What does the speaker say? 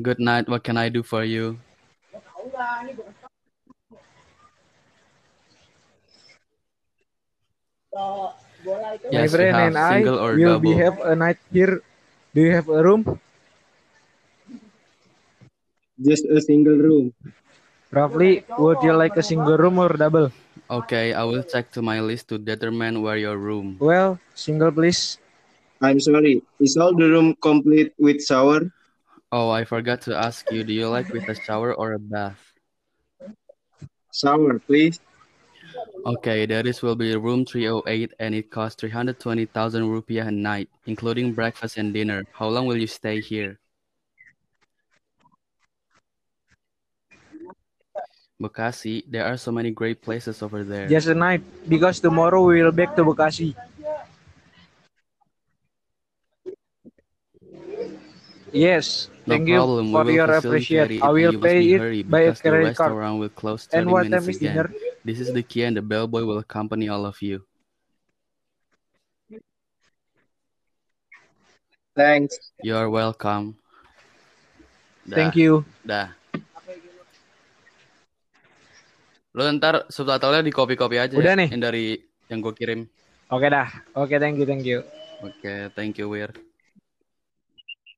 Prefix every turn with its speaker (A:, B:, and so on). A: Good night. What can I do for you?
B: My
A: Yes, we
B: friend
A: have
B: and I
A: single or
B: will
A: double.
B: we have a night here. Do you have a room?
C: Just a single room.
B: Roughly, would you like a single room or double?
A: Okay, I will check to my list to determine where your room.
B: Well, single please.
C: I'm sorry. Is all the room complete with shower?
A: Oh, I forgot to ask you. Do you like with a shower or a bath?
C: Shower, please.
A: Okay, that is will be room 308 and it costs 320,000 rupiah a night, including breakfast and dinner. How long will you stay here? Bekasi, there are so many great places over there.
B: Just a night because tomorrow we will back to Bekasi. Yes,
A: No
B: thank
A: problem. we
B: you for
A: will
B: your
A: appreciate
B: appreciate. I will pay
A: hurry
B: it by a
A: because the
B: credit card.
A: restaurant will close 30
B: And what uh, time
A: minutes
B: is
A: again.
B: dinner?
A: This is the key and the bellboy will accompany all of you.
C: Thanks.
A: You are welcome.
B: Thank you.
A: Dah. Lu ntar subtitlenya di copy-copy aja
B: Udah
A: ya,
B: nih.
A: yang dari yang gue kirim.
B: Oke dah. Oke, thank you, thank you.
A: Oke, thank you, Wir.